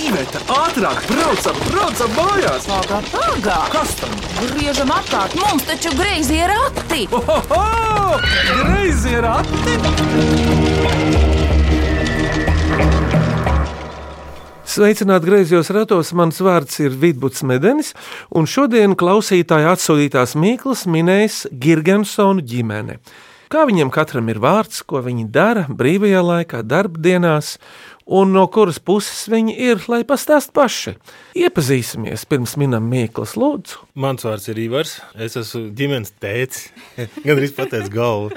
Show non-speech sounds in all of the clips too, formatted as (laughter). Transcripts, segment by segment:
Iveta, ātrāk, braucam, braucam mājās! Pagā, pagā! Kas tam? Griežam apkārt, mums taču greizi ir rati! Ohoho! Greizi ir rati! Sveicināti griezos ratos, mans vārds ir Vidbuds Medenis, un šodien klausītāja atsūtītās mīklas minēs Girgensonu ģimene. Kā viņiem katram ir vārds, ko viņi dara brīvajā laikā, darbdienās, un no kuras puses viņi ir, lai pastāst paši. Iepazīsimies pirms minam mīklas lūdzu. Mans vārds ir Ivars. Es esmu ģimenes tēvs. (laughs) Gan arī pateicis galvu.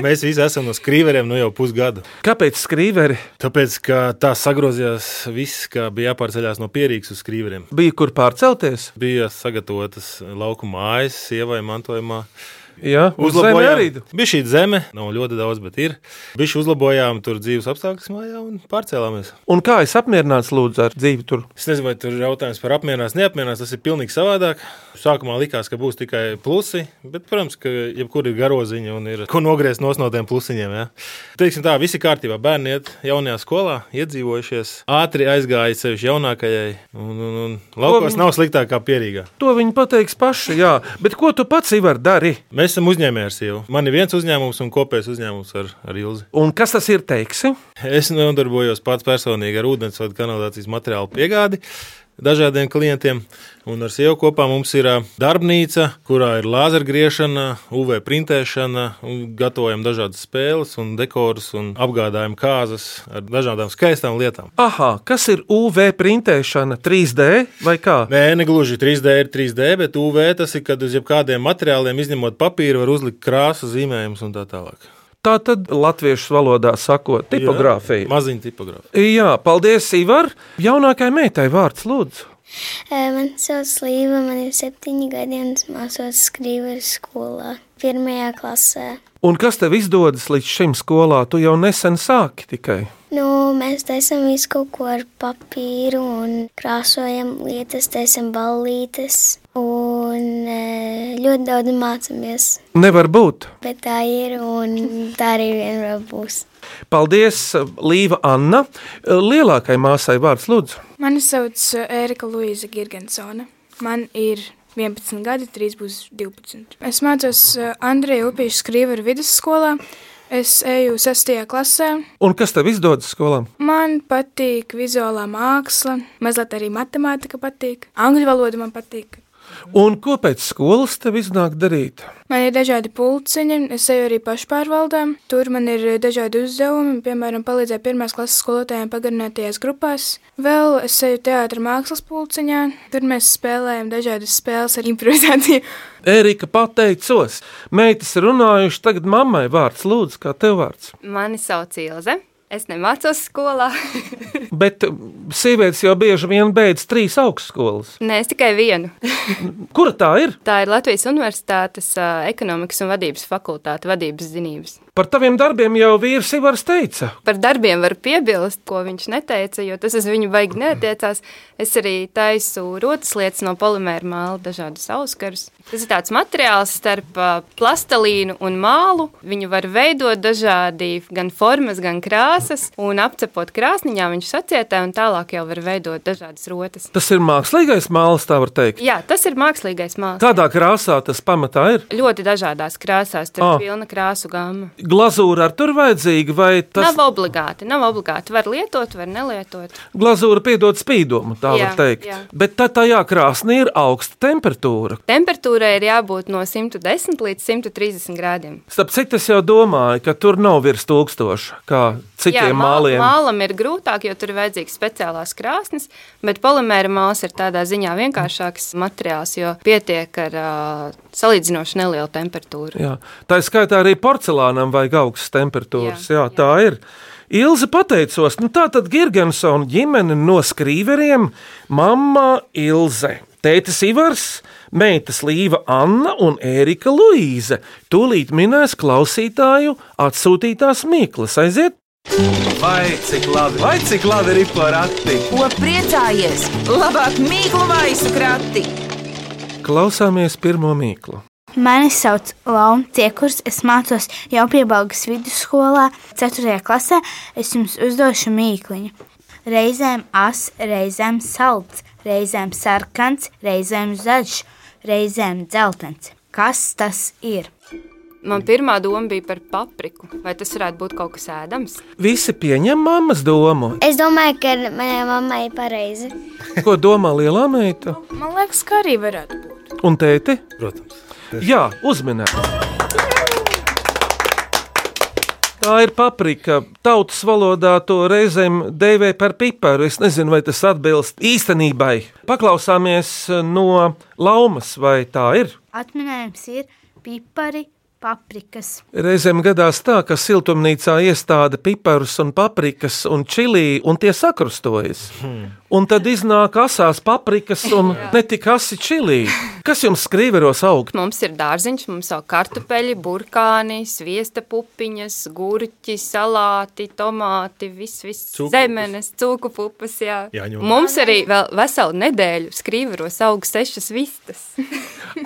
Mēs visi esam no skrīveriem nu jau pusgadu. Kāpēc skrīveri Tāpēc, ka tā sagrozījās viss, kā bija jāpārceļās no pierīgas uz skrīveriem. bija kur pārcelties? Bija sagatavotas lauku mājas, sievai mantojumā. Jā, uz zemi arī. Bija šī zeme, nav ļoti daudz, bet ir. Bija uzlabojām tur dzīves apstākļus mājā un pārcēlāmies. Un kā es apmierināts lūdzu ar dzīvi tur? Es nezinu, vai tur ir jautājums par apmierinās, neapmierinās. Tas ir pilnīgi savādāk. Sākumā likās, ka būs tikai plusi, bet, protams, ka jebkur ir garoziņa un ir ko nogriezt no no tiem plusiņiem. Ja? Teiksim tā, visi kārtībā. Bērni iet jaunajā skolā, iedzīvojušies, ātri aizgāja sevišķi jaunākajai. Un, un, un laukos nav sliktāk kā pierīgā. To viņi pateiks paši, jā, bet ko tu pats Ivar, dari? Mēs esam uzņēmēji ar sievu. Man ir viens uzņēmums un kopējs uzņēmums ar, ar Ilzi. Un kas tas ir, teiksi? Es nodarbojos pats personīgi ar ūdensvadu kanalizācijas materiālu piegādi. Dažādiem klientiem. Un ar sievu kopā mums ir ā, darbnīca, kurā ir lāzergriešana, UV printēšana, un gatavojam dažādas spēles, un dekorus un apgādājam kāzas ar dažādām skaistām lietām. Aha, kas ir UV printēšana, 3D vai kā? Nē, ne gluži 3D ir 3D, bet UV tas ir, kad uz jebkādiem materiāliem, izņemot papīru, var uzlikt krāsu, zīmējumus un tā tālāk. Tā tad latviešu valodā sakot, Jā, tipogrāfija. Maziņa tipogrāfija. Jā, paldies, Ivar. Jaunākajai meitai vārds lūdzu. Eh, Man sauc Līva, man ir septiņi gadi un es mācos skrīveru skolā, pirmajā klasē. Un kas tev izdodas līdz šim skolā? Tu jau nesen sāki tikai. Nu, mēs taisām visu kaut ko ar papīru un krāsojam lietas, taisām ballītes un eh, ļoti daudz mācāmies. Nevar būt. Bet tā ir un tā arī vienmēr būs. Paldies, Līva Anna. Lielākai māsai vārds lūdzu. Mani sauc uh, Ērika Luīza Girgensone. Man ir 11 gadi, 3 būs 12. Es mācos uh, Andreja Upīša Skrīveru vidusskolā. Es eju 6. klasē. Un kas tev izdodas skolā? Man patīk vizuālā māksla, mazliet arī matemātika patīk. Angļu valoda man patīk. Un ko pēc skolas tev iznāk darīt? Man ir dažādi pulciņi, es eju arī pašpārvaldē. Tur man ir eh, dažādi uzdevumi, piemēram, palīdzēt pirmās klases skolotājiem pagarinātajās grupās. Vēl es eju teātras mākslas pulciņā, tur mēs spēlējam dažādas spēles ar improvizāciju. (laughs) Erika pateicos, meitas runājuši, tagad mammai vārds lūdzu, kā tev vārds. Mani sauc Ilze. Es nemācos skolā. (laughs) Bet um, sievietes jau bieži vien beidz trīs augstskolas. Nē, es tikai vienu. Kura tā ir? Tā ir Latvijas Universitātes ā, ekonomikas un vadības fakultāte, vadības zinības. Par taviem darbiem jau vīrs Ivars teica. Par darbiem var piebilst, ko viņš neteica, jo tas uz viņu baigi neatiecās. Es arī taisu rotas lietas no polimēra māla, dažādus auskarus. Tas ir tāds materiāls starp ā, plastelīnu un mālu. Viņu var veidot dažādi gan formas, gan krāsas, un apcepot krāsniņā viņš sacietē, un tālāk jau var veidot dažādas rotas. Tas ir mākslīgais mākslinieks, tā var teikt. Jā, tas ir mākslīgais mākslinieks. Kādā krāsā tas pamatā ir? Ļoti dažādās krāsās, tur Ah. ir pilna krāsu gama. Glazūra ar tur vajadzīga, vai Tas... tas Nav obligāti, nav obligāti. Var lietot, var nelietot. glazūra piedod spīdumu, tā jā, Jā, var teikt. Jā. jā. Bet tā tajā krāsnī ir augsta temperatūra. Temperatūrai ir jābūt no 110 līdz 130 grādiem. Starp citu, es jau domāju, ka tur nav virs tūkstoša, kā citiem jā, māl- māliem. mālam ir grūtāk, jo tur ir vajadzīgs speciālās krāsnes, bet polimēra māls ir tādā ziņā vienkāršāks materiāls, jo pietiek ar uh, salīdzinoši nelielu temperatūru. Jā. Tā ir skaitā arī porcelānam vajag augstas temperatūras. Jā, jā, Jā, jā. tā ir. Ilzi pateicos, nu tā tad Girgensona ģimene no skrīveriem, mamma Ilze, tētis Ivars, meitas Līva Anna un Ērika Luīze. Tūlīt minēs klausītāju atsūtītās mīklas. Aiziet! Vai cik labi, vai cik labi ir porati! Ko priecājies? Labāk mīklu maisu krati! Klausāmies pirmo mīklu. Mani sauc Launa Ciekurs. Es mācos jau piebalgas vidusskolā, 4. klasē. Es jums uzdošu mīkluņu. Reizēm as, reizēm salds, reizēm sarkans, reizēm zaļš, reizēm dzeltens. Kas tas ir? Man pirmā doma bija par papriku. Vai tas varētu būt kaut kas ēdams? Visi pieņem mammas domu. Es domāju, ka manai mammai ir pareizi. Ko domā lielā meita Man liekas, ka arī varētu būt. un tēti? Protams. Jā, uzminēt. Tā ir paprika. Tautas valodā to reizēm dēvē par piparu. Es nezinu, vai tas atbilst īstenībai. Paklausāmies eh, no laumas, vai tā ir. Atminējums ir pipari, paprikas. Reizēm gadās tā, ka siltumnīcā iestāda piparus un paprikas un čili, un tie sakrustojas. Un tad iznāk asās paprikas un ne tik asi čili. Kas jums skrīveros aug? Mums ir dārziņš, mums ir kartupeļi, burkāni, sviesta pupiņas, gurķi, salāti, tomāti, viss, viss Cūku zemenes, cūku pupas. Jā. Jāņem. Mums arī vēl veselu nedēļu skrīveros aug sešas vistas. (laughs)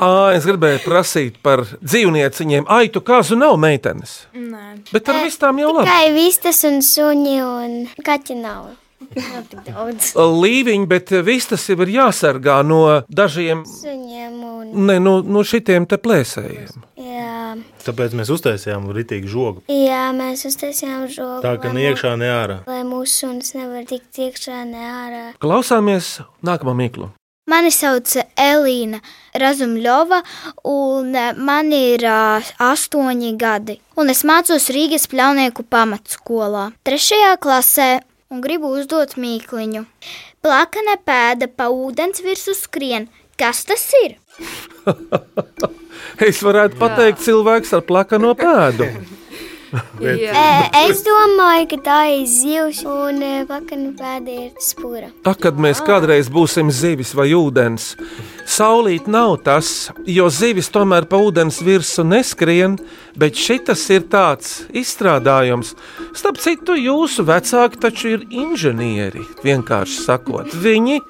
Ā, es gribēju prasīt par dzīvnieciņiem. Ai, tu kāzu nav meitenes, Nē, bet ar vistām jau labi. Tikai vistas un suņi un kaķi nav. Nav tik daudz. Līviņi, bet vistas jau ir jāsargā no dažiem, Suņiem un. ne, no, no šitiem te plēsējiem. Jā, Tāpēc mēs uztaisījām rītīgu žogu. jā mēs uztaisījām žogu. Tā kā lai ne mū- iekšā, ne ārā. Lai mūsu suns nevar tikt iekšā, ne ārā. Klausāmies nākamā mīklu. Mani sauc Elīna Razumļova, un eh, man ir ā, astoņi gadi. Un es mācos Rīgas pļaunieku pamatskolā, trešajā klasē, un gribu uzdot mīkliņu. Plakana pēda pa ūdens virsmu skrien. Kas tas ir? Es varētu pateikt, cilvēks ar plakano pēdu. (laughs) Jā. E, es domāju, ka tā ir zivs un e, pakana pēda ir spūra. Tā, kad mēs kādreiz būsim zivis vai ūdens, saulīt nav tas, jo zivis tomēr pa ūdens virsmu neskrien, bet šis ir tāds izstrādājums. Starp citu, jūsu vecāki taču ir inženieri. Vienkārši sakot, viņi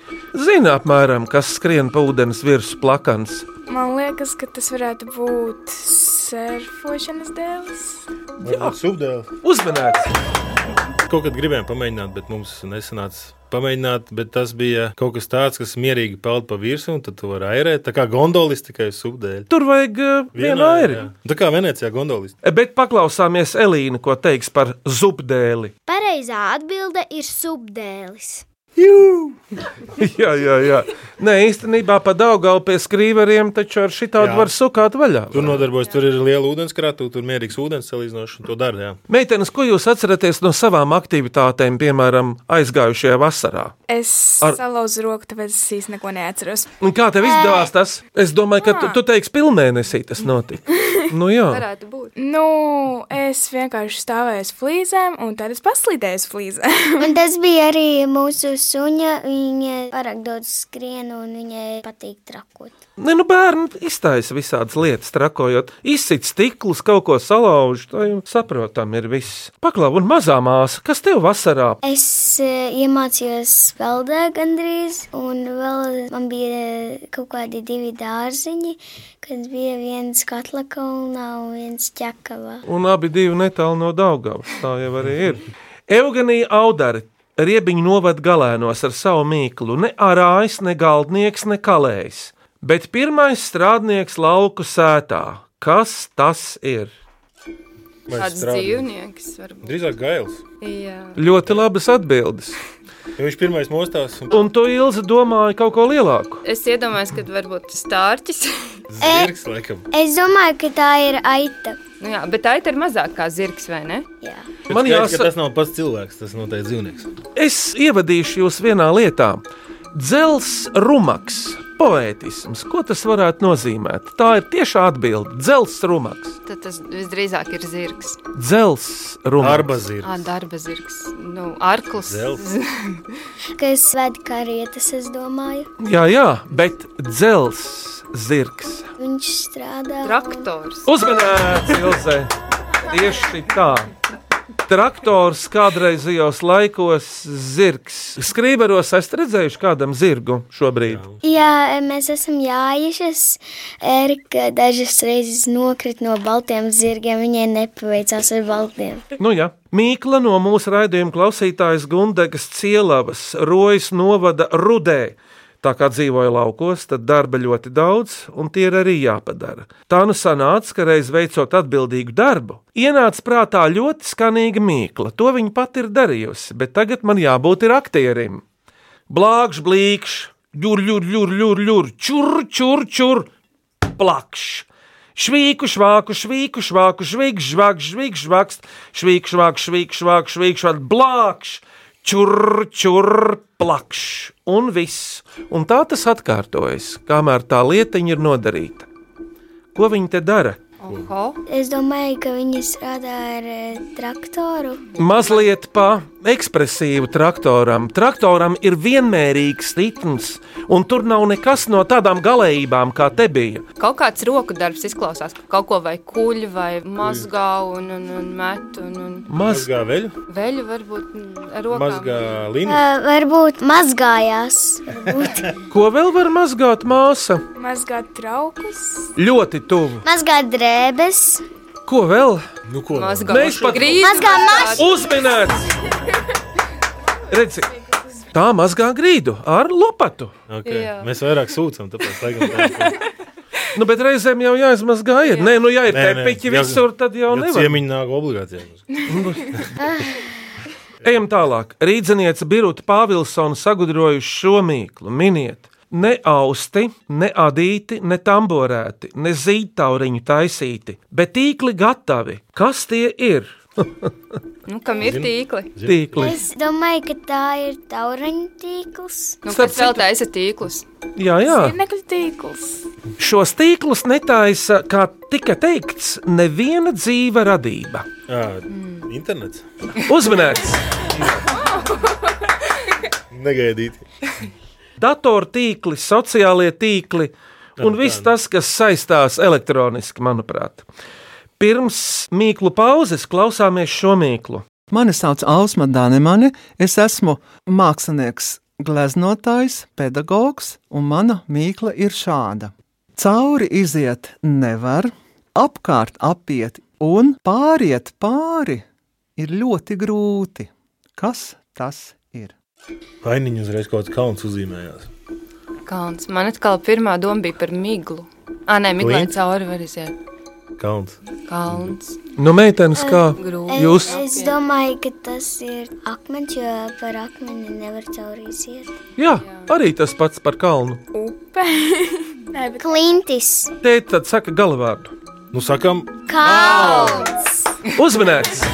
zina apmēram, kas skrien pa ūdens virsmu plakans. man liekas, ka tas varētu būt surfošanas dēls. Jā, subdēlis. Uzmanīgs! Kaut kad gribējām pamēģināt, bet mums nesanāca pamēģināt. Bet tas bija kaut kas tāds, kas mierīgi peld pa virsmu, un tad tu vari airēt. Tā kā gondolis tikai subdēļ. Tur vajag eh, vienu airi. Tā kā Venecijā gondolis. Bet paklausāmies Elīnu, ko teiks par zubdēli. Pareizā atbilde ir subdēlis. (laughs) Jā, jā, jā. Nē, īstenībā pa daudzu pie skrīveriem taču ar šitādu Jā. var sukāt vaļā. Tur nodarbojas, tur ir liela ūdenskrātuve, tur mierīgs ūdens salīdzinoši, un to dara. jā. Meitenes, ko jūs atceraties no savām aktivitātēm, piemēram, aizgājušajā vasarā? Es Ar- Ar... salauzu roku, tāpēc es īsti neko neatceros. Un kā tev izdevās tas? Es domāju, ka tu, tu teiksi, pilnmēnesī tas notika. Nu jā, Varētu būt. Nu, es vienkārši stāvēju uz flīzēm, un tad es paslīdēju uz flīzēm. (laughs) Un tas bija arī mūsu suņa. Viņa pārāk daudz skrien un viņai patīk trakot. ne, nu bērni iztaisa visādas lietas, trakojot, izsit stiklus, kaut ko salauž. Tā jau saprotam, ir viss. Paklau, un mazā māsa, kas tev vasarā? Es e, iemācījos peldē gandrīz, un vēl man bija e, kaut kādi divi dārziņi, kad bija viens katla kalnā un viens ķekavā. Un abi divi netālu no Daugavas. Tā jau arī ir. Eugenija Audari. Riebiņš novada galēnos ar savu mīklu, ne arājs, ne galdnieks, ne kalējs. Bet pirmais strādnieks lauku sētā. Kas tas ir? Vai Kāds strādā? dzīvnieks varbūt. Drīzāk gails. Jā. Ļoti labas atbildes. Jo viņš pirmais mostās. Un... Un to Ilze domāja kaut ko lielāku. Es iedomājos, ka varbūt tas tārķis. Zirgs, laikam. Es domāju, ka tā ir aita. (laughs) nu, jā, bet tā ir mazāk kā zirgs, vai ne? Jā. Man Man jāsaka, jāsa- ka tas nav pats cilvēks, tas noteikti dzīvnieks. Es ievadīšu jūs vienā lietā. Dzels rumaks, poētisms. Ko tas varētu nozīmēt? Tā ir tieša atbilde. Dzels rumaks. Tad tas visdrīzāk ir zirgs. Dzels rumaks. Arba zirgs. Ah, darba zirgs. Nu, arklis. Zels. Kas ved karietas, es domāju. Jā, jā, bet dzels zirgs. Viņš strādā. un- (laughs) Traktors. Uzmanīts, Ilze! Tieši tā. Traktors kādreizajos laikos, zirgs. Skrīberos esat redzējuši kādam zirgu šobrīd. Jā, mēs esam jājušies. Erika dažas reizes nokrita no baltiem zirgiem. Viņai nepaveicās ar baltiem. Nu, jā. Mīkla no mūsu raidījuma klausītājas Gundegas cielavas, rojas novada rudē. Tā kā dzīvoja laukos, tad darba ļoti daudz, un tie ir arī jāpadara. Tā nu sanāca, ka reiz veicot atbildīgu darbu, ienāca prātā ļoti skanīga mīkla. To viņa pati ir darījusi, bet tagad man jābūt ir aktierim. Blāgš, blīkš, ļur, ļur, ļur, ļur, ļur, čur, čur, čur, plakš. Švīku, švāku, švīku, švāku, žvīk, žvāk, žvīk, žvakst, švīk, švāk, švīk, švāk, švīk, švāk, blākš, čur, čur, plakš, un viss. Un tā tas atkārtojas, kamēr tā lietiņa ir nodarīta. Ko viņi te dara? Oho, Es domāju, ka viņi strādā ar eh, traktoru. Mazliet pa ekspresīvu traktoram. Traktoram ir vienmērīgs ritms, un tur nav nekas no tādām galējībām, kā te bija. kaut kāds roku darbs izklausās, ka kaut ko vai kuļ, vai mazgā un, un, un met, un, un Maz Mazgā veļu, veļu varbūt mm, ar rokām. mazgā līniju. Eh, Varbūt mazgājās. Varbūt. ko vēl var mazgāt māsa? Mazgāt traukus, Ļoti tuvu. Mazgā drēbes. Ko vēl? Nu, ko? Mazgā Mēs pat- grīzi. Mazgā mašīnu. Uzminēts! Redzi, tā mazgā grīdu ar lopatu. Okay. Jā. Mēs vairāk sūdzam, tāpēc laikam tā ir. Nu, bet reizēm jau jāizmazgā. Ir. Nē, nu, ja ir Nē, nē, tepiķi ja- visur, tad jau Jo nevar. ciemiņi nāk obligāti. Ejam tālāk. Rīdziniece Birūta Pāvilsona sagudrojuši šo mīklu. Miniet, ne austi, ne adīti, ne tamborēti, ne zītauriņu taisīti, bet tīkli gatavi. Kas tie ir? Nu, kam ir tīkli? Tīkli. Es domāju, ka tā ir tauriņķis. Nu, Starp kas vēl taisa tīklus? Jā, jā. zirnekļu tīkls, Šos tīklus netaisa, kā tika teikts, neviena dzīva radība. Internets. Uzmanīgs! Negaidīti. datortīkli, sociālie tīkli un viss tas, kas saistās elektroniski, manuprāt. Pirms mīklu pauzes klausāmies šo mīklu. Mani sauc Ausma Danemane, es esmu mākslinieks, gleznotājs, pedagogs, un mana mīkla ir šāda. Cauri iziet nevar, apkārt apiet un pāriet pāri ir ļoti grūti. Kas tas ir? Vainiņš uzreiz kaut kāds kauns uzzīmējās. Kalns. Man atkal pirmā doma bija par miglu. Ah, nē, miglai Klint? cauri var iziet. Kauns. Kalns. Nu, meitenes, kā Grūti. jūs Es domāju, ka tas ir akmens, jo par akmeni nevar cauri iziet. jā, arī tas pats par kalnu. upe, Klintis. Te tad saka galvārdu. Nu, sakām, Kalns. Uzmanīgs!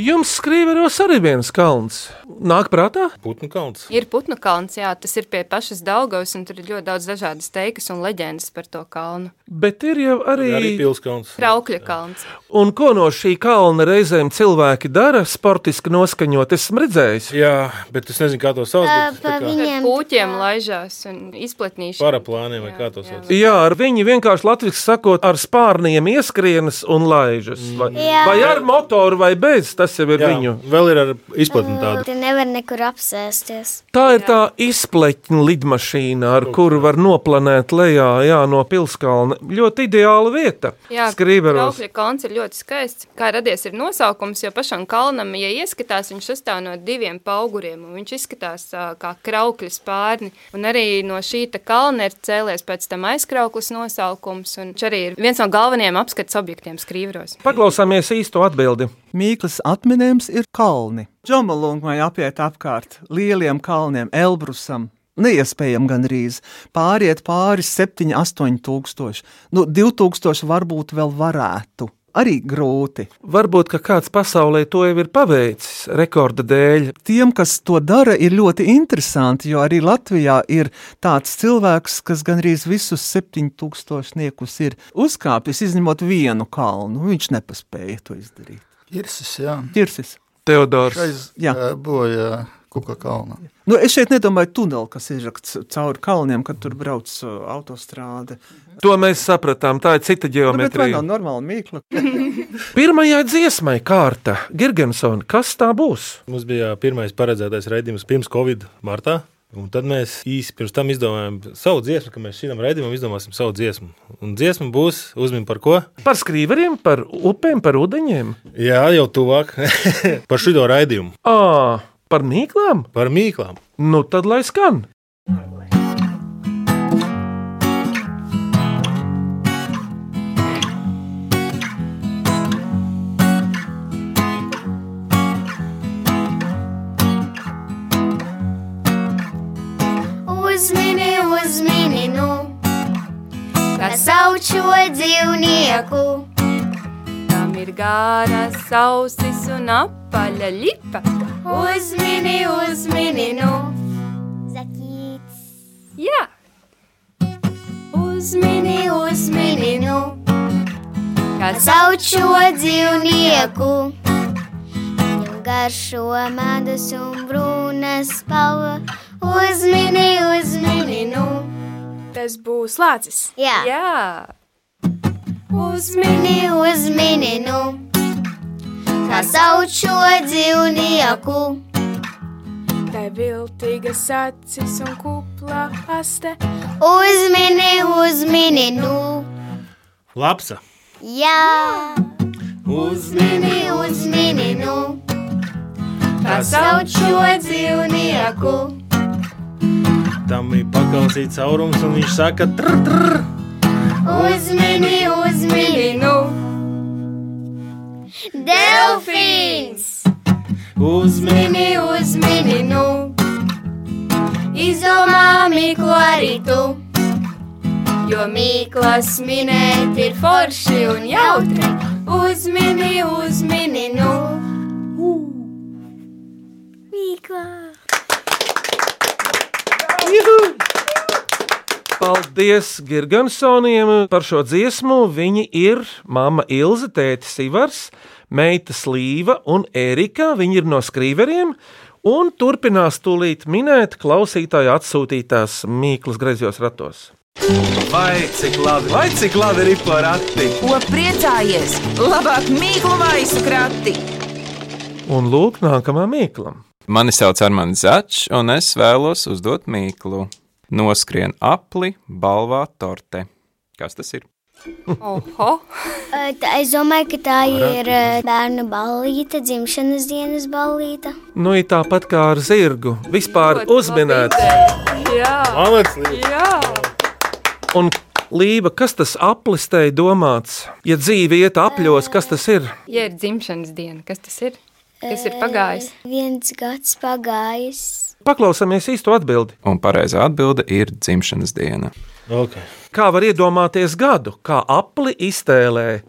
Jums skrīveros arī viens kalns. Nāk prātā? putnu kauns. Ir putnu kalns, jā, tas ir pie pašas Daugavas, un tur ir ļoti daudz dažādas teikas un leģendas par to kalnu. Bet ir jau Arī arī. pilskauns. Traukļa kalns. Un ko no šī kalna reizēm cilvēki dara sportiski noskaņot? Esmu redzējis. Jā, bet es nezinu, kā to sauc. Pa, bet tā kā pa Ar viņiem kūķiem laižās un izplatnīšana. Paraplāniem vai kā to sauc. Jā, ar viņu vienkārši latviešu sakot, ar spārniem ieskrienas un laižas. Vai, Jā. vai ar motoru vai bez, tas jau ir Mm. Jā, Jā. viņu. vēl ir ar izplatni tādu. Tur nevar nekur apsēsties. Tā ir tā izpleķņa lidmašīna, ar kuru var noplanēt lejā jā, no pilskalna. Ļoti ideāla vieta. skrīveros. Traukļa kalns ir ļoti skaists. Kā radies ir nosaukums, jo pašam kalnam, ja ieskatās, viņš sastāv no diviem auguriem, un viņš izskatās ā, kā kraukļa spārni. Un arī no šī te kalna ir cēlies pēc tam aizkrauklis nosaukums, un viņš arī ir viens no galvenajiem apskates objektiem skrīvros. Paklausāmies īsto atbildi. Mīklas atminējums ir kalni. Džamalungmai apiet apkārt lieliem kalniem, Elbrusam. Neiespējami gandrīz. Pāriet pāri 7, 8 tūkstoši. Nu, 2000 varbūt vēl varētu. Arī grūti. Varbūt, ka kāds pasaulē to jau ir paveicis rekorda dēļ. Tiem, kas to dara, ir ļoti interesanti, jo arī Latvijā ir tāds cilvēks, kas gandrīz visus 7000 niekus ir uzkāpis, izņemot vienu kalnu. Viņš nepaspēja to izdarīt. Irsis, jā. Tirsis. Teodors. Šais Jā. jā. bojā kaut kā kalnā. Nu, es šeit nedomāju, tuneli, kas izrakts cauri kalniem, kad tur brauc uh, autostrāde. To mēs sapratām. Tā ir cita Nu, bet vai nav geometrija. normāla mīkla? Pirmajai dziesmai kārta Gergensona. Kas tā būs? Mums bija pirmais paredzētais raidījums pirms Covid martā. Un tad mēs īsi pirms tam izdomājām savu dziesmu, ka mēs šim raidījumam izdomāsim savu dziesmu. Un dziesma būs uzmanība par ko? Par skrīveriem, par upēm, par ūdeņiem. Jā, jau tuvāk. (laughs) par šo raidījumu. Ā, par mīklām? Par mīklām. Nu, tad lai skan. Uzmini, uzmini, nu, kā sauc šo dzīvnieku. Tam ir gāra, sausis un apaļa lipa. Uzmini, uzmini, nu, zaķīts. Jā, uzmini, uzmini, nu, kā sauc šo dzīvnieku. Viņam garšo medus un brūnas spalva. Uzmini, uzmini, nu! Tas būs lācis. Jā. Jā. Uzmini, uzmini, nu, kā sauc šo dzīvnieku. Tā ir viltīga acis un kupla aste. Uzmini, uzmini, nu, Lapsa. jā. Uzmini, uzmini, nu, kā sauc šo dzīvnieku. Tam ir pakausīts caurums, un viņš saka, tur Uzmini, uzmini, nu! Delfīns! Uzmini, uzmini, nu! Izdomā mīklu arī tu! Jo mīklas minēt ir forši un jautri! Uzmini, uzmini, nu! Mīkla! Juhu! Paldies Gergensoniem par šo dziesmu. Viņi ir mamma Ilze, tētis Ivars, meita Slīva un Erika. Viņi ir no skrīveriem. Un turpinās tūlīt minēt klausītāju atsūtītās mīklas griezos ratos. Vai cik labi, vai cik labi ir porakti? Ko priecājies? Labāk mīklu maisu krati! Un lūk, nākamā mīkla. Mani sauc Armāns Zaļs, un es vēlos uzdot mīklu. Noskrien apli, balvā torte. Kas tas ir? Oho! Eh, tā- Es domāju, ka tā ir eh, bērnu ballīte, dzimšanas dienas ballīte. Nu, ir tāpat kā ar zirgu. Vispār uzminēts. Jā, Malac, jā. Un Lība, kas tas aplistēji domāts? Ja dzīve iet apļos, kas tas ir? Ja ir dzimšanas diena, kas tas ir? Kas ir pagājis? Eh, Viens gads pagājis. Paklausāmies īsto atbildi. Un pareizā atbilde ir dzimšanas diena. Okay. Kā var iedomāties gadu, kā apli iztēlē?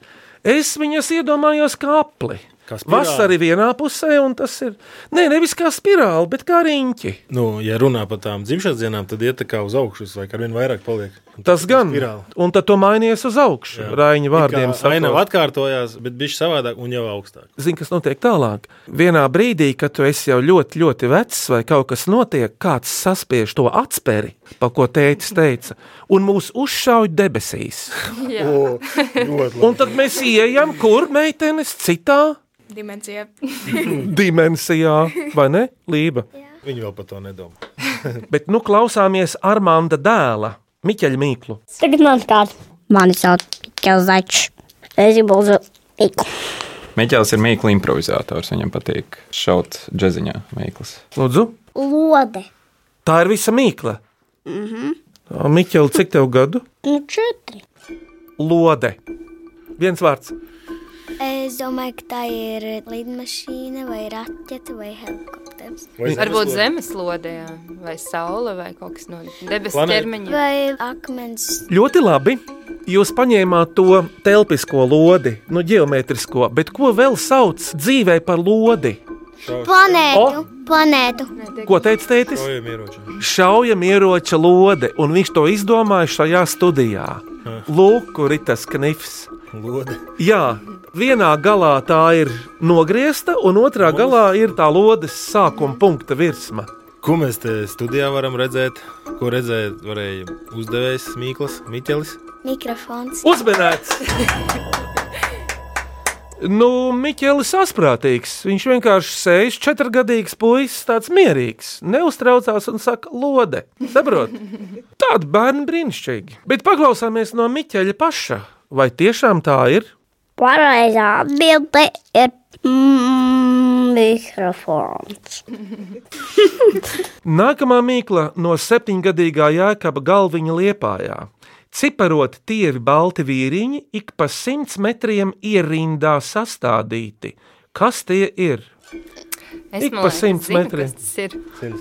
Es viņas iedomājos kā apli. Kā spirāli. Vasarī vienā pusē, un tas ir. Nē, nevis kā spirāli, bet kā riņķi. Nu, ja runā par tām dzimšanas dienām, tad iet tā kā uz augšu, vai ar vien vairāk paliek. Tas gan. spirāli. Un tad tu mainies uz augšu. Raiņa vārdiem Ainava sakot. atkārtojās, bet bija savādāk un jau augstāk. Zini, kas notiek tālāk? Vienā brīdī, kad tu esi jau ļoti, ļoti vecs, vai kaut kas notiek, kāds saspiež to atspēri, pa ko tēvs teica, un mūs uzšauj debesīs. Jā. O, ļoti Un tad mēs ienākam, kur meitenes citā Dimensija. dimensijā, vai ne? Lība. Viņi vēl par to nedomā. Bet nu klausāmies Armānda dēla, Miķaļa Mīklu. Tagad man kāds. Mani sauc Mikls Zafs. Es gribu uzzīmēt īku. Meķels ir mīkla improvizators. Viņam patīk šaut džeziņā mīklas. Lūdzu, Lode. tā ir visa mīkla. Mhm. Miķaļa, cik tev gadu? Nu, četri. Lode. Viens vārds. Es domāju, ka tā ir lidmašīna vai raķete vai helikopters. Varbūt zemeslodē, jā. vai saule, vai kaut kas no debesu Planēta. ķermeņa. Vai akmens Ļoti labi. Jūs paņēmāt to telpisko lodi, nu, geometrisko, bet ko vēl sauc dzīvē par lodi? planētu? planētu. Ko teica tētis? Ieroči. Šaujamieroča lode, un viņš to izdomāja šajā studijā. Lūk, kur ir tas knifs. Lode. Jā, Vienā galā tā ir nogriezta, un otrā galā ir tā lodes sākuma punkta virsma. Ko mēs te studijā varam redzēt? Ko redzēt, varēja uzdevējs Mikls, Miķelis. Mikrofons. Uzmanīts! Nu, Miķelis asprātīgs. Viņš vienkārši sēž četrgadīgs puisis, tāds mierīgs, neuztraucās un saka, lode. Saprot? Tādi bērni brīnišķīgi. Bet paklausāmies no Miķeļa paša. Vai tiešām tā ir? Pareizā atbilde ir mm, mikrofons. Nākamā mīkla no septiņgadīgā jēkaba galviņa liepājā. Ciparot tievi balti vīriņi, ik pa simts metriem ierindā sastādīti. Kas tie ir? Es Ik man pa liekas, simts zinu, metriem. kas Tas ir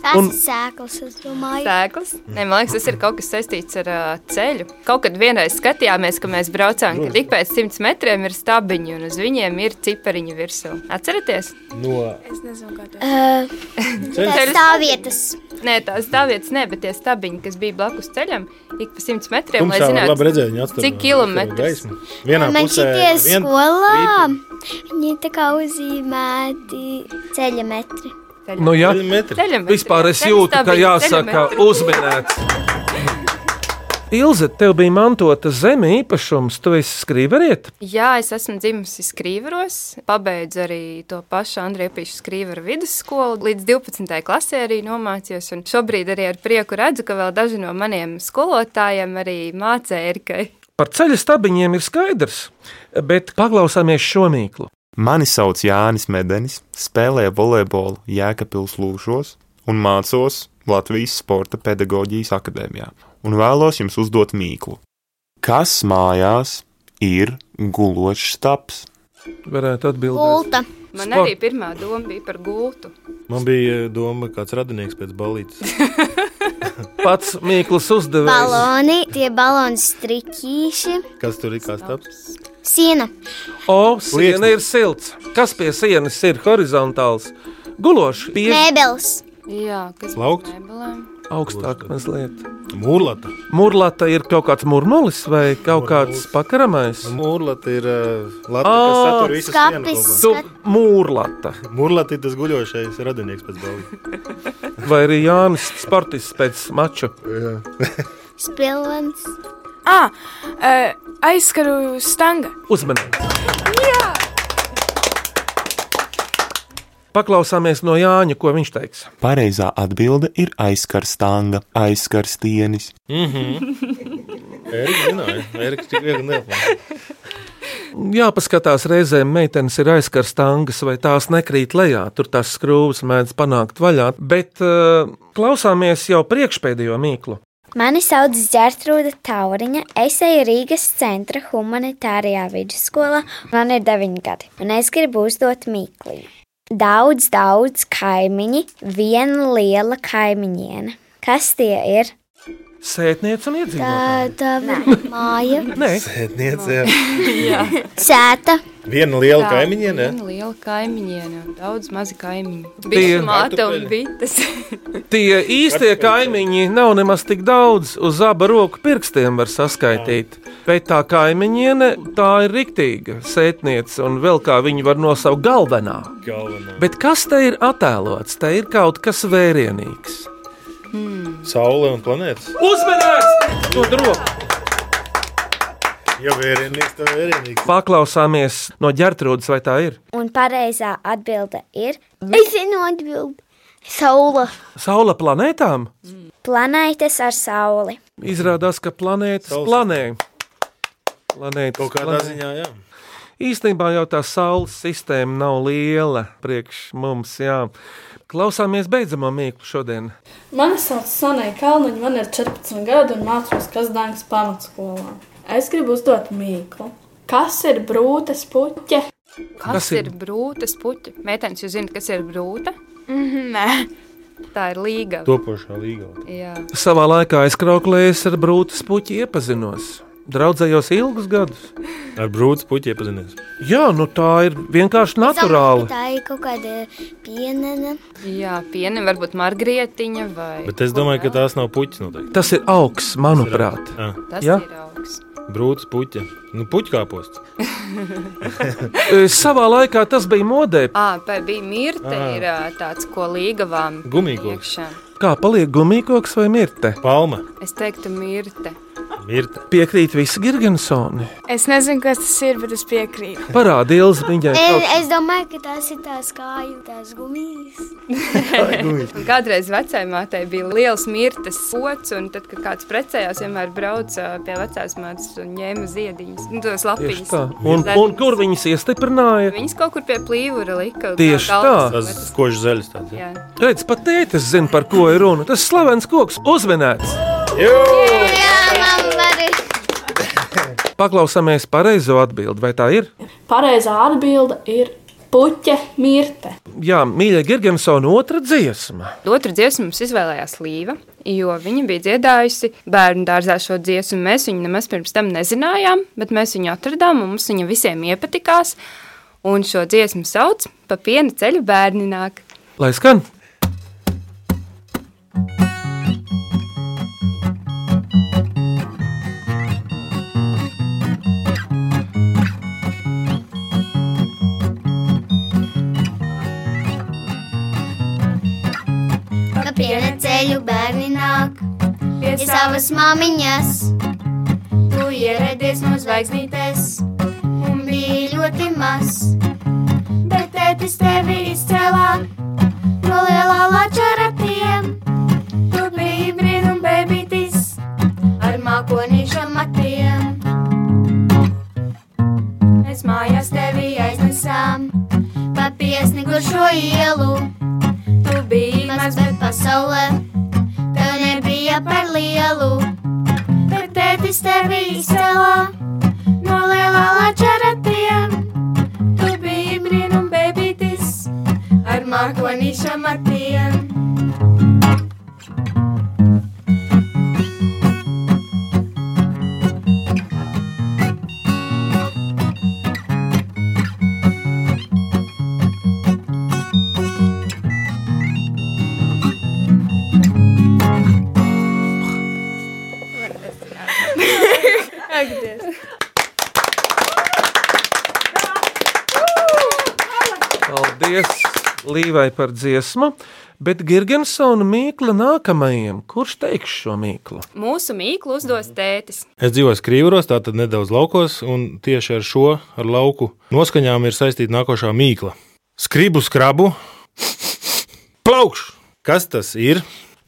Tas un... ir sēklas, es domāju. sēklas. Nē, man liekas, tas ir kaut kas saistīts ar uh, ceļu. Kaut kad vienreiz skatījāmies, ka mēs braucām, ka tik pēc simts metriem ir stabiņi un uz viņiem ir cipariņi virsū. Atcerieties? No Es nezinu, kā tā. Uh, Ceļu- stāvvietas. Nē, tās stāvvietas, ne, bet tie stabiņi, kas bija blakus ceļam, ik pa simts metriem, lai Tumšā var labi redzēt, viņa zinātu, atstāja cik kilometrus. Vienā Man pusē šitie vien- skolā, viņi tā kā uzzīmēti ceļa metri. Nu, jā, Ceļametri. vispār es Ceļastabiņi, jūtu, ka jāsaka ceļametri. uzminēts. Ilze, tev bija mantota zeme īpašums, tu esi skrīveriet? Jā, es esmu dzimusi Skrīveros, pabeidzu arī to pašu Andrija Pīša Skrīvera vidusskolu. Līdz 12. klasē arī nomācījos, un šobrīd arī ar prieku redzu, ka vēl daži no maniem skolotājiem arī mācē Erikai. Par ceļa stabiņiem ir skaidrs, bet paklausāmies šo mīklu. Mani sauc Jānis Medenis, spēlēju volejbolu Jēkabūras lūšos un mācos Latvijas Sporta pedagoģijas akadēmijā. Un vēlos jums uzdot mīklu. Kas mājās ir gulošs taps? Varētu atbildēt. Gulta. Man Sport. arī pirmā doma bija par gultu. Man bija eh, doma, kāds radinieks pēc (laughs) balītas. Pats Mikls uzdevējs. Baloni, tie baloni strikīši, Kas tur ir kā stāvs? siena. O, siena ir silts. Kas pie sienas ir horizontāls? Gulošs, pieejams, Mēbeles. Jā, kas Laukts? Mēbelēm. augstāk mazliet. Mūrlata. Mūrlata ir kaut kāds mūrmulis vai kaut kāds pakaramais. Mūrlata ir lapa, kas Ā, satur visas skapis, sienas Tu kopā. mūrlata. Mūrlata ir tas guļošais radinieks pēc balītas. Vai arī Jānis Sportis pēc mača? Spilvens. Ah, aizskaru stanga. Uzmanīgi! Paklausāmies no Jāņa, ko viņš teiks. Pareizā atbilde ir aizkarstanga, aizkarstienis. Eriks zināja, Eriks tik viegli neapmācīja. Jāpaskatās, reizēm meitenes ir aizkarstāngas, vai tās nekrīt lejā. Tur tās skrūves mēdz panākt vaļā. Bet uh, klausāmies jau priekšpēdējo mīklu. Mani sauc Gertrūda Tauriņa. Es eju Rīgas centra humanitārajā vidusskolā. Man ir 9 gadi, un es gribu uzdot mīklu. Daudz, daudz kaimiņi, viena liela kaimiņiene. Kas tie ir? Sētniece un iedzīvotāji. Tā ir māja. Nē, Sētniece. Jā. Sēta. Viena liela Tā, kaimiņiene. Viena liela kaimiņiene, un daudz mazi kaimiņi. Tie- Bija māte un bites. Tie īstie kaimiņi nav nemaz tik daudz, uz abu roku pirkstiem var saskaitīt. Bet tā kaimiņiene, tā ir riktīga sētniece, un vēl kā viņu var nosaukt galvenā. Galvenā. Bet kas te ir attēlots? Te ir kaut kas vērienīgs. Saule un planētas. Uzmanīgs! Nu, To dropu! Jā, vērienīgs, tā vērienīgs. Paklausāmies no ģērtrūdas, vai tā ir? Un pareizā atbilde ir Es zinu atbildi. Saula. Saula planētām? planētas ar sauli. Izrādās, ka planētas planē. Planētas Kaut kādā planē. ziņā, jā. Īstenībā jau tā saules sistēma nav liela priekš mums. Jā. Klausāmies beidzamā mīklu šodien. Mani sauc Sonija Kalniņa, man ir 14 gadi un mācos Kazdāngas pamatskolā. Es gribu uzdot mīklu. Kas ir brūces puķe? (laughs) Kas, kas ir brūces puķa? Mētājs, jūs zināt, kas ir brūta? Mm -hmm, nē, tā ir līga. Topošā līgā. Jā. Savā laikā es krauklējos ar brūces puķi iepazinos. Draudzējos ilgus gadus. Ar brūci puķi iepazinies. Jā, nu tā ir vienkārši naturāli. Tā ir kaut kāda pienene. Jā, piena, varbūt margrietiņa vai. Bet es domāju, ka tās nav puķis noteikti. Tas ir augs, manuprāt. Jā. Tas Ja? ir augs. Brūts puķa. Nu, puķkāposts. E, Savā laikā tas bija modē. À, tā bija mirte, ir ā, tāds, ko līgavām Gumijkoks. iekšā. Kā paliek gumijkoks vai mirte? Palma. Es teiktu, mirte. Mirte. Piekrīt visi Girgensoni. Es nezinu, kas tas ir, bet es piekrītu. Parādi ilzi viņai. Es, kaut- E, es domāju, ka tās ir tās kāju, tās gumijas. Un Kādreiz vecajai mātei bija liels mirtas pocis, un tad, kad kāds precējās, vienmēr brauca pie vecās mātes un ņēma ziediņus, nu, tos Tieši lapiņus. tā. Un, un kur viņas iestiprināja? Viņas kaut kur pie plīvura lika. Tieši kā galvas, vai tā. tas- Košs zaļš. Jā. Redz, pat tētis zina, par ko ir runa. Tas slavens koks uzvinēts. Jā, man arī. Paklausāmies pareizo atbildi, vai tā ir? Pareizā atbilde ir puķe mirte. Jā, mīļā Girgensona otra dziesma. Otru dziesmu mums izvēlējās Līva, jo viņa bija dziedājusi bērnu dārzā šo dziesmu. Mēs viņu nemaz pirms tam nezinājām, bet mēs viņu atradām un mums viņa visiem iepatikās. Un šo dziesmu sauc pa piena ceļu bērni nāk. Lai skan! ka piena ceļu bērni nāk pie savas māmiņas. Tu ieradies no zvaigznītes un bija ļoti maz, bet tētis tevi izcēlā no lielā lačara tiem. Tu biji brīnum bebītis ar mākonīša matiem. Mēs mājās tevi aiznesām pa piesnigušo ielu. Tu biji maz, bet pasaulē tev nebija par lielu. Bet tētis tevi izcēlā no lielā lačara tiem. Tu biji brīnum bebītis ar mākonīša matiem. Paldies Līvai par dziesmu, bet Girgensona mīkla nākamajam. Kurš teiks šo mīklu? Mūsu mīklu uzdos tētis. Es dzīvoju Skrīvros, tātad nedaudz laukos, un tieši ar šo ar lauku noskaņām ir saistīta nākošā mīkla. Skribu skrabu, plaukšu! Kas tas ir?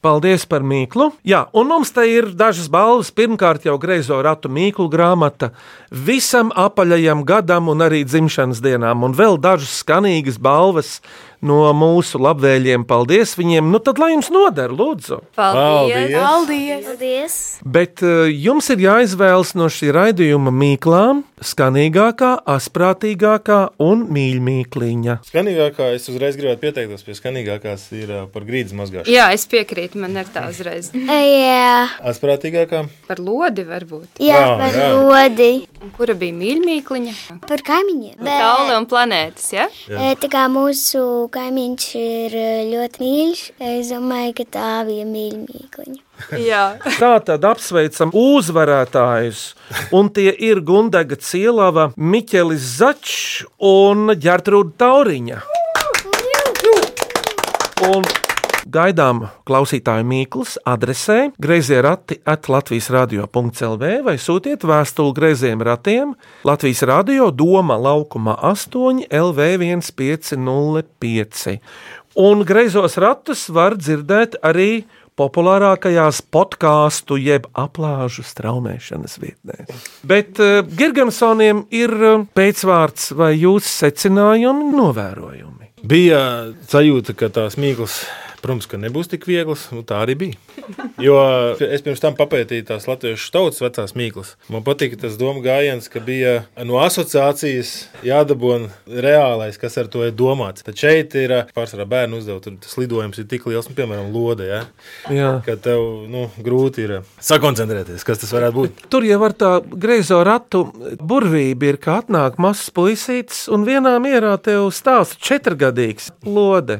Paldies par mīklu. Jā, un mums te ir dažas balvas. Pirmkārt, jau greizo ratu mīklu grāmata visam apaļajam gadam un arī dzimšanas dienām, un vēl dažas skanīgas balvas no mūsu labvēlīgiem. Paldies viņiem! Nu, tad lai jums noder, lūdzu! Paldies! Paldies! Paldies. Bet eh, jums ir jāizvēlas no šī raidījuma mīklām skanīgākā, asprātīgākā un mīļākā. Skanīgākā, es uzreiz gribētu pieteikties pie skanīgākās, ir ā, par grīdas mazgāšanu. Jā, es piekrītu, man ir tā uzreiz. Jā, Asprātīgākā. Par lodi varbūt. jā, jā Jā, par jā. lodi. Un kura bija mīļākā? Par kaimiņiem. Saule un planētas, ja? E, Tā kā mūsu kaimiņš ir e, ļoti mīļš, es domāju, ka tā bija mīļākā. Jā. (laughs) Tā tad apsveicam uzvarētājus. Un tie ir Gundaga Cielava, Miķelis Zaķis un Gertrūda Tauriņa. Un gaidām klausītāju mīklas adresē grazē rati at Latvijas radio.clv vai sūtiet vēstuli grazējiem ratiem Latvijas radio Doma laukuma 8 LV1505. Un grazos ratus var dzirdēt arī populārākajās podkāstu jeb aplāžu straumēšanas vietnēs. Bet uh, Gergensoniem ir eh, pēcvārds vai jūsu secinājumi, novērojumi. Bija sajūta, ka tās mīklas, protams, ka nebūs tik vieglas. Nu, tā arī bija. Jo es pirms tam papētīju tās latviešu tautas vecās mīklas. Man patika tas doma gājiens, ka bija no asociācijas jādabūna reālais, kas ar to ir domāts. Tad šeit ir ā, pārsvarā bērnu uzdevums, tur tas lidojums ir tik liels, un, piemēram, lode. Ja? Jā. Ka tev nu, grūti ir ā, sakoncentrēties, kas tas varētu būt. Tur jau var tā griezo ratu burvība, ir, ka atnāk mazs puisītis un vienā mierā tev stāsta četrgadīgs lode.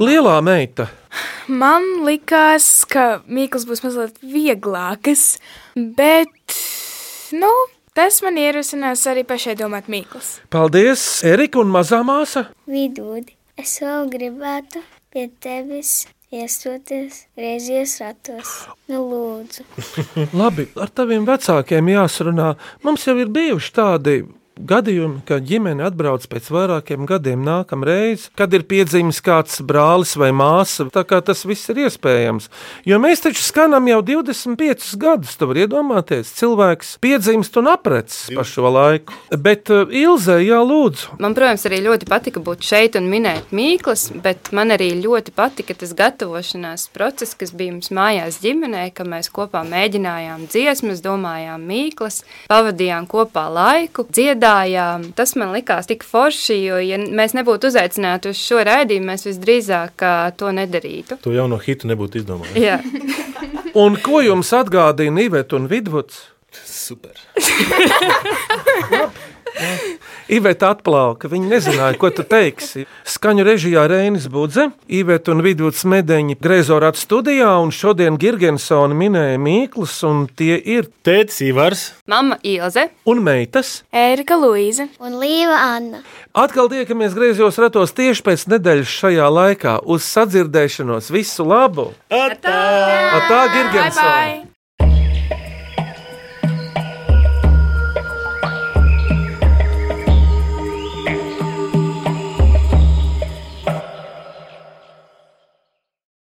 Lielā meita. Man likās, ka Mikls būs mazliet vieglākas, bet nu, tas man ierosinās arī pašai domāt mīklas. Paldies, Erika un mazā māsa! Vidūdi, es vēl gribētu pie tevis iestoties griezies ratos. Nu, lūdzu. Labi, ar taviem vecākiem jāsarunā. Mums jau ir bijuši tādi gadījumi, kad ģimene atbrauc pēc vairākiem gadiem nākamreiz, kad ir piedzimis kāds brālis vai māsa. Tā kā tas viss ir iespējams. Jo mēs taču skanam jau 25 gadus, tu vari iedomāties, cilvēks piedzimst un aprecis pa šo laiku. Bet uh, Ilzē, jā, lūdzu. Man, protams, arī ļoti patika būt šeit un minēt mīklas, bet man arī ļoti patika tas gatavošanās process, kas bija mums mājās ģimenē, ka mēs kopā mēģinājām dziesmas, domājām mīklas, pavadījām kopā laiku, dziedājām. Tas man likās tik forši, jo, ja mēs nebūtu uzaicināti uz šo raidījumu, mēs visdrīzāk ā, to nedarītu. To jauno hitu nebūtu izdomājis. Jā. Un ko jums atgādīja Nīveta un Vidvuds? Super. Iveta atplauka. Viņa nezināja, ko tu teiksi. Skaņu režijā Rēnis Budze, Iveta un Vidvuds Medeņi Grezorāta studijā, un šodien Girgensona minēja Mīklus, un tie ir Tētis Ivars Mama Ilze. un meitas. Ērika Luīze. Un Līva Anna. Atkal tiekamies griezos ratos tieši pēc nedēļas šajā laikā. Uz sadzirdēšanos visu labu! Atā! Atā, Girgensona!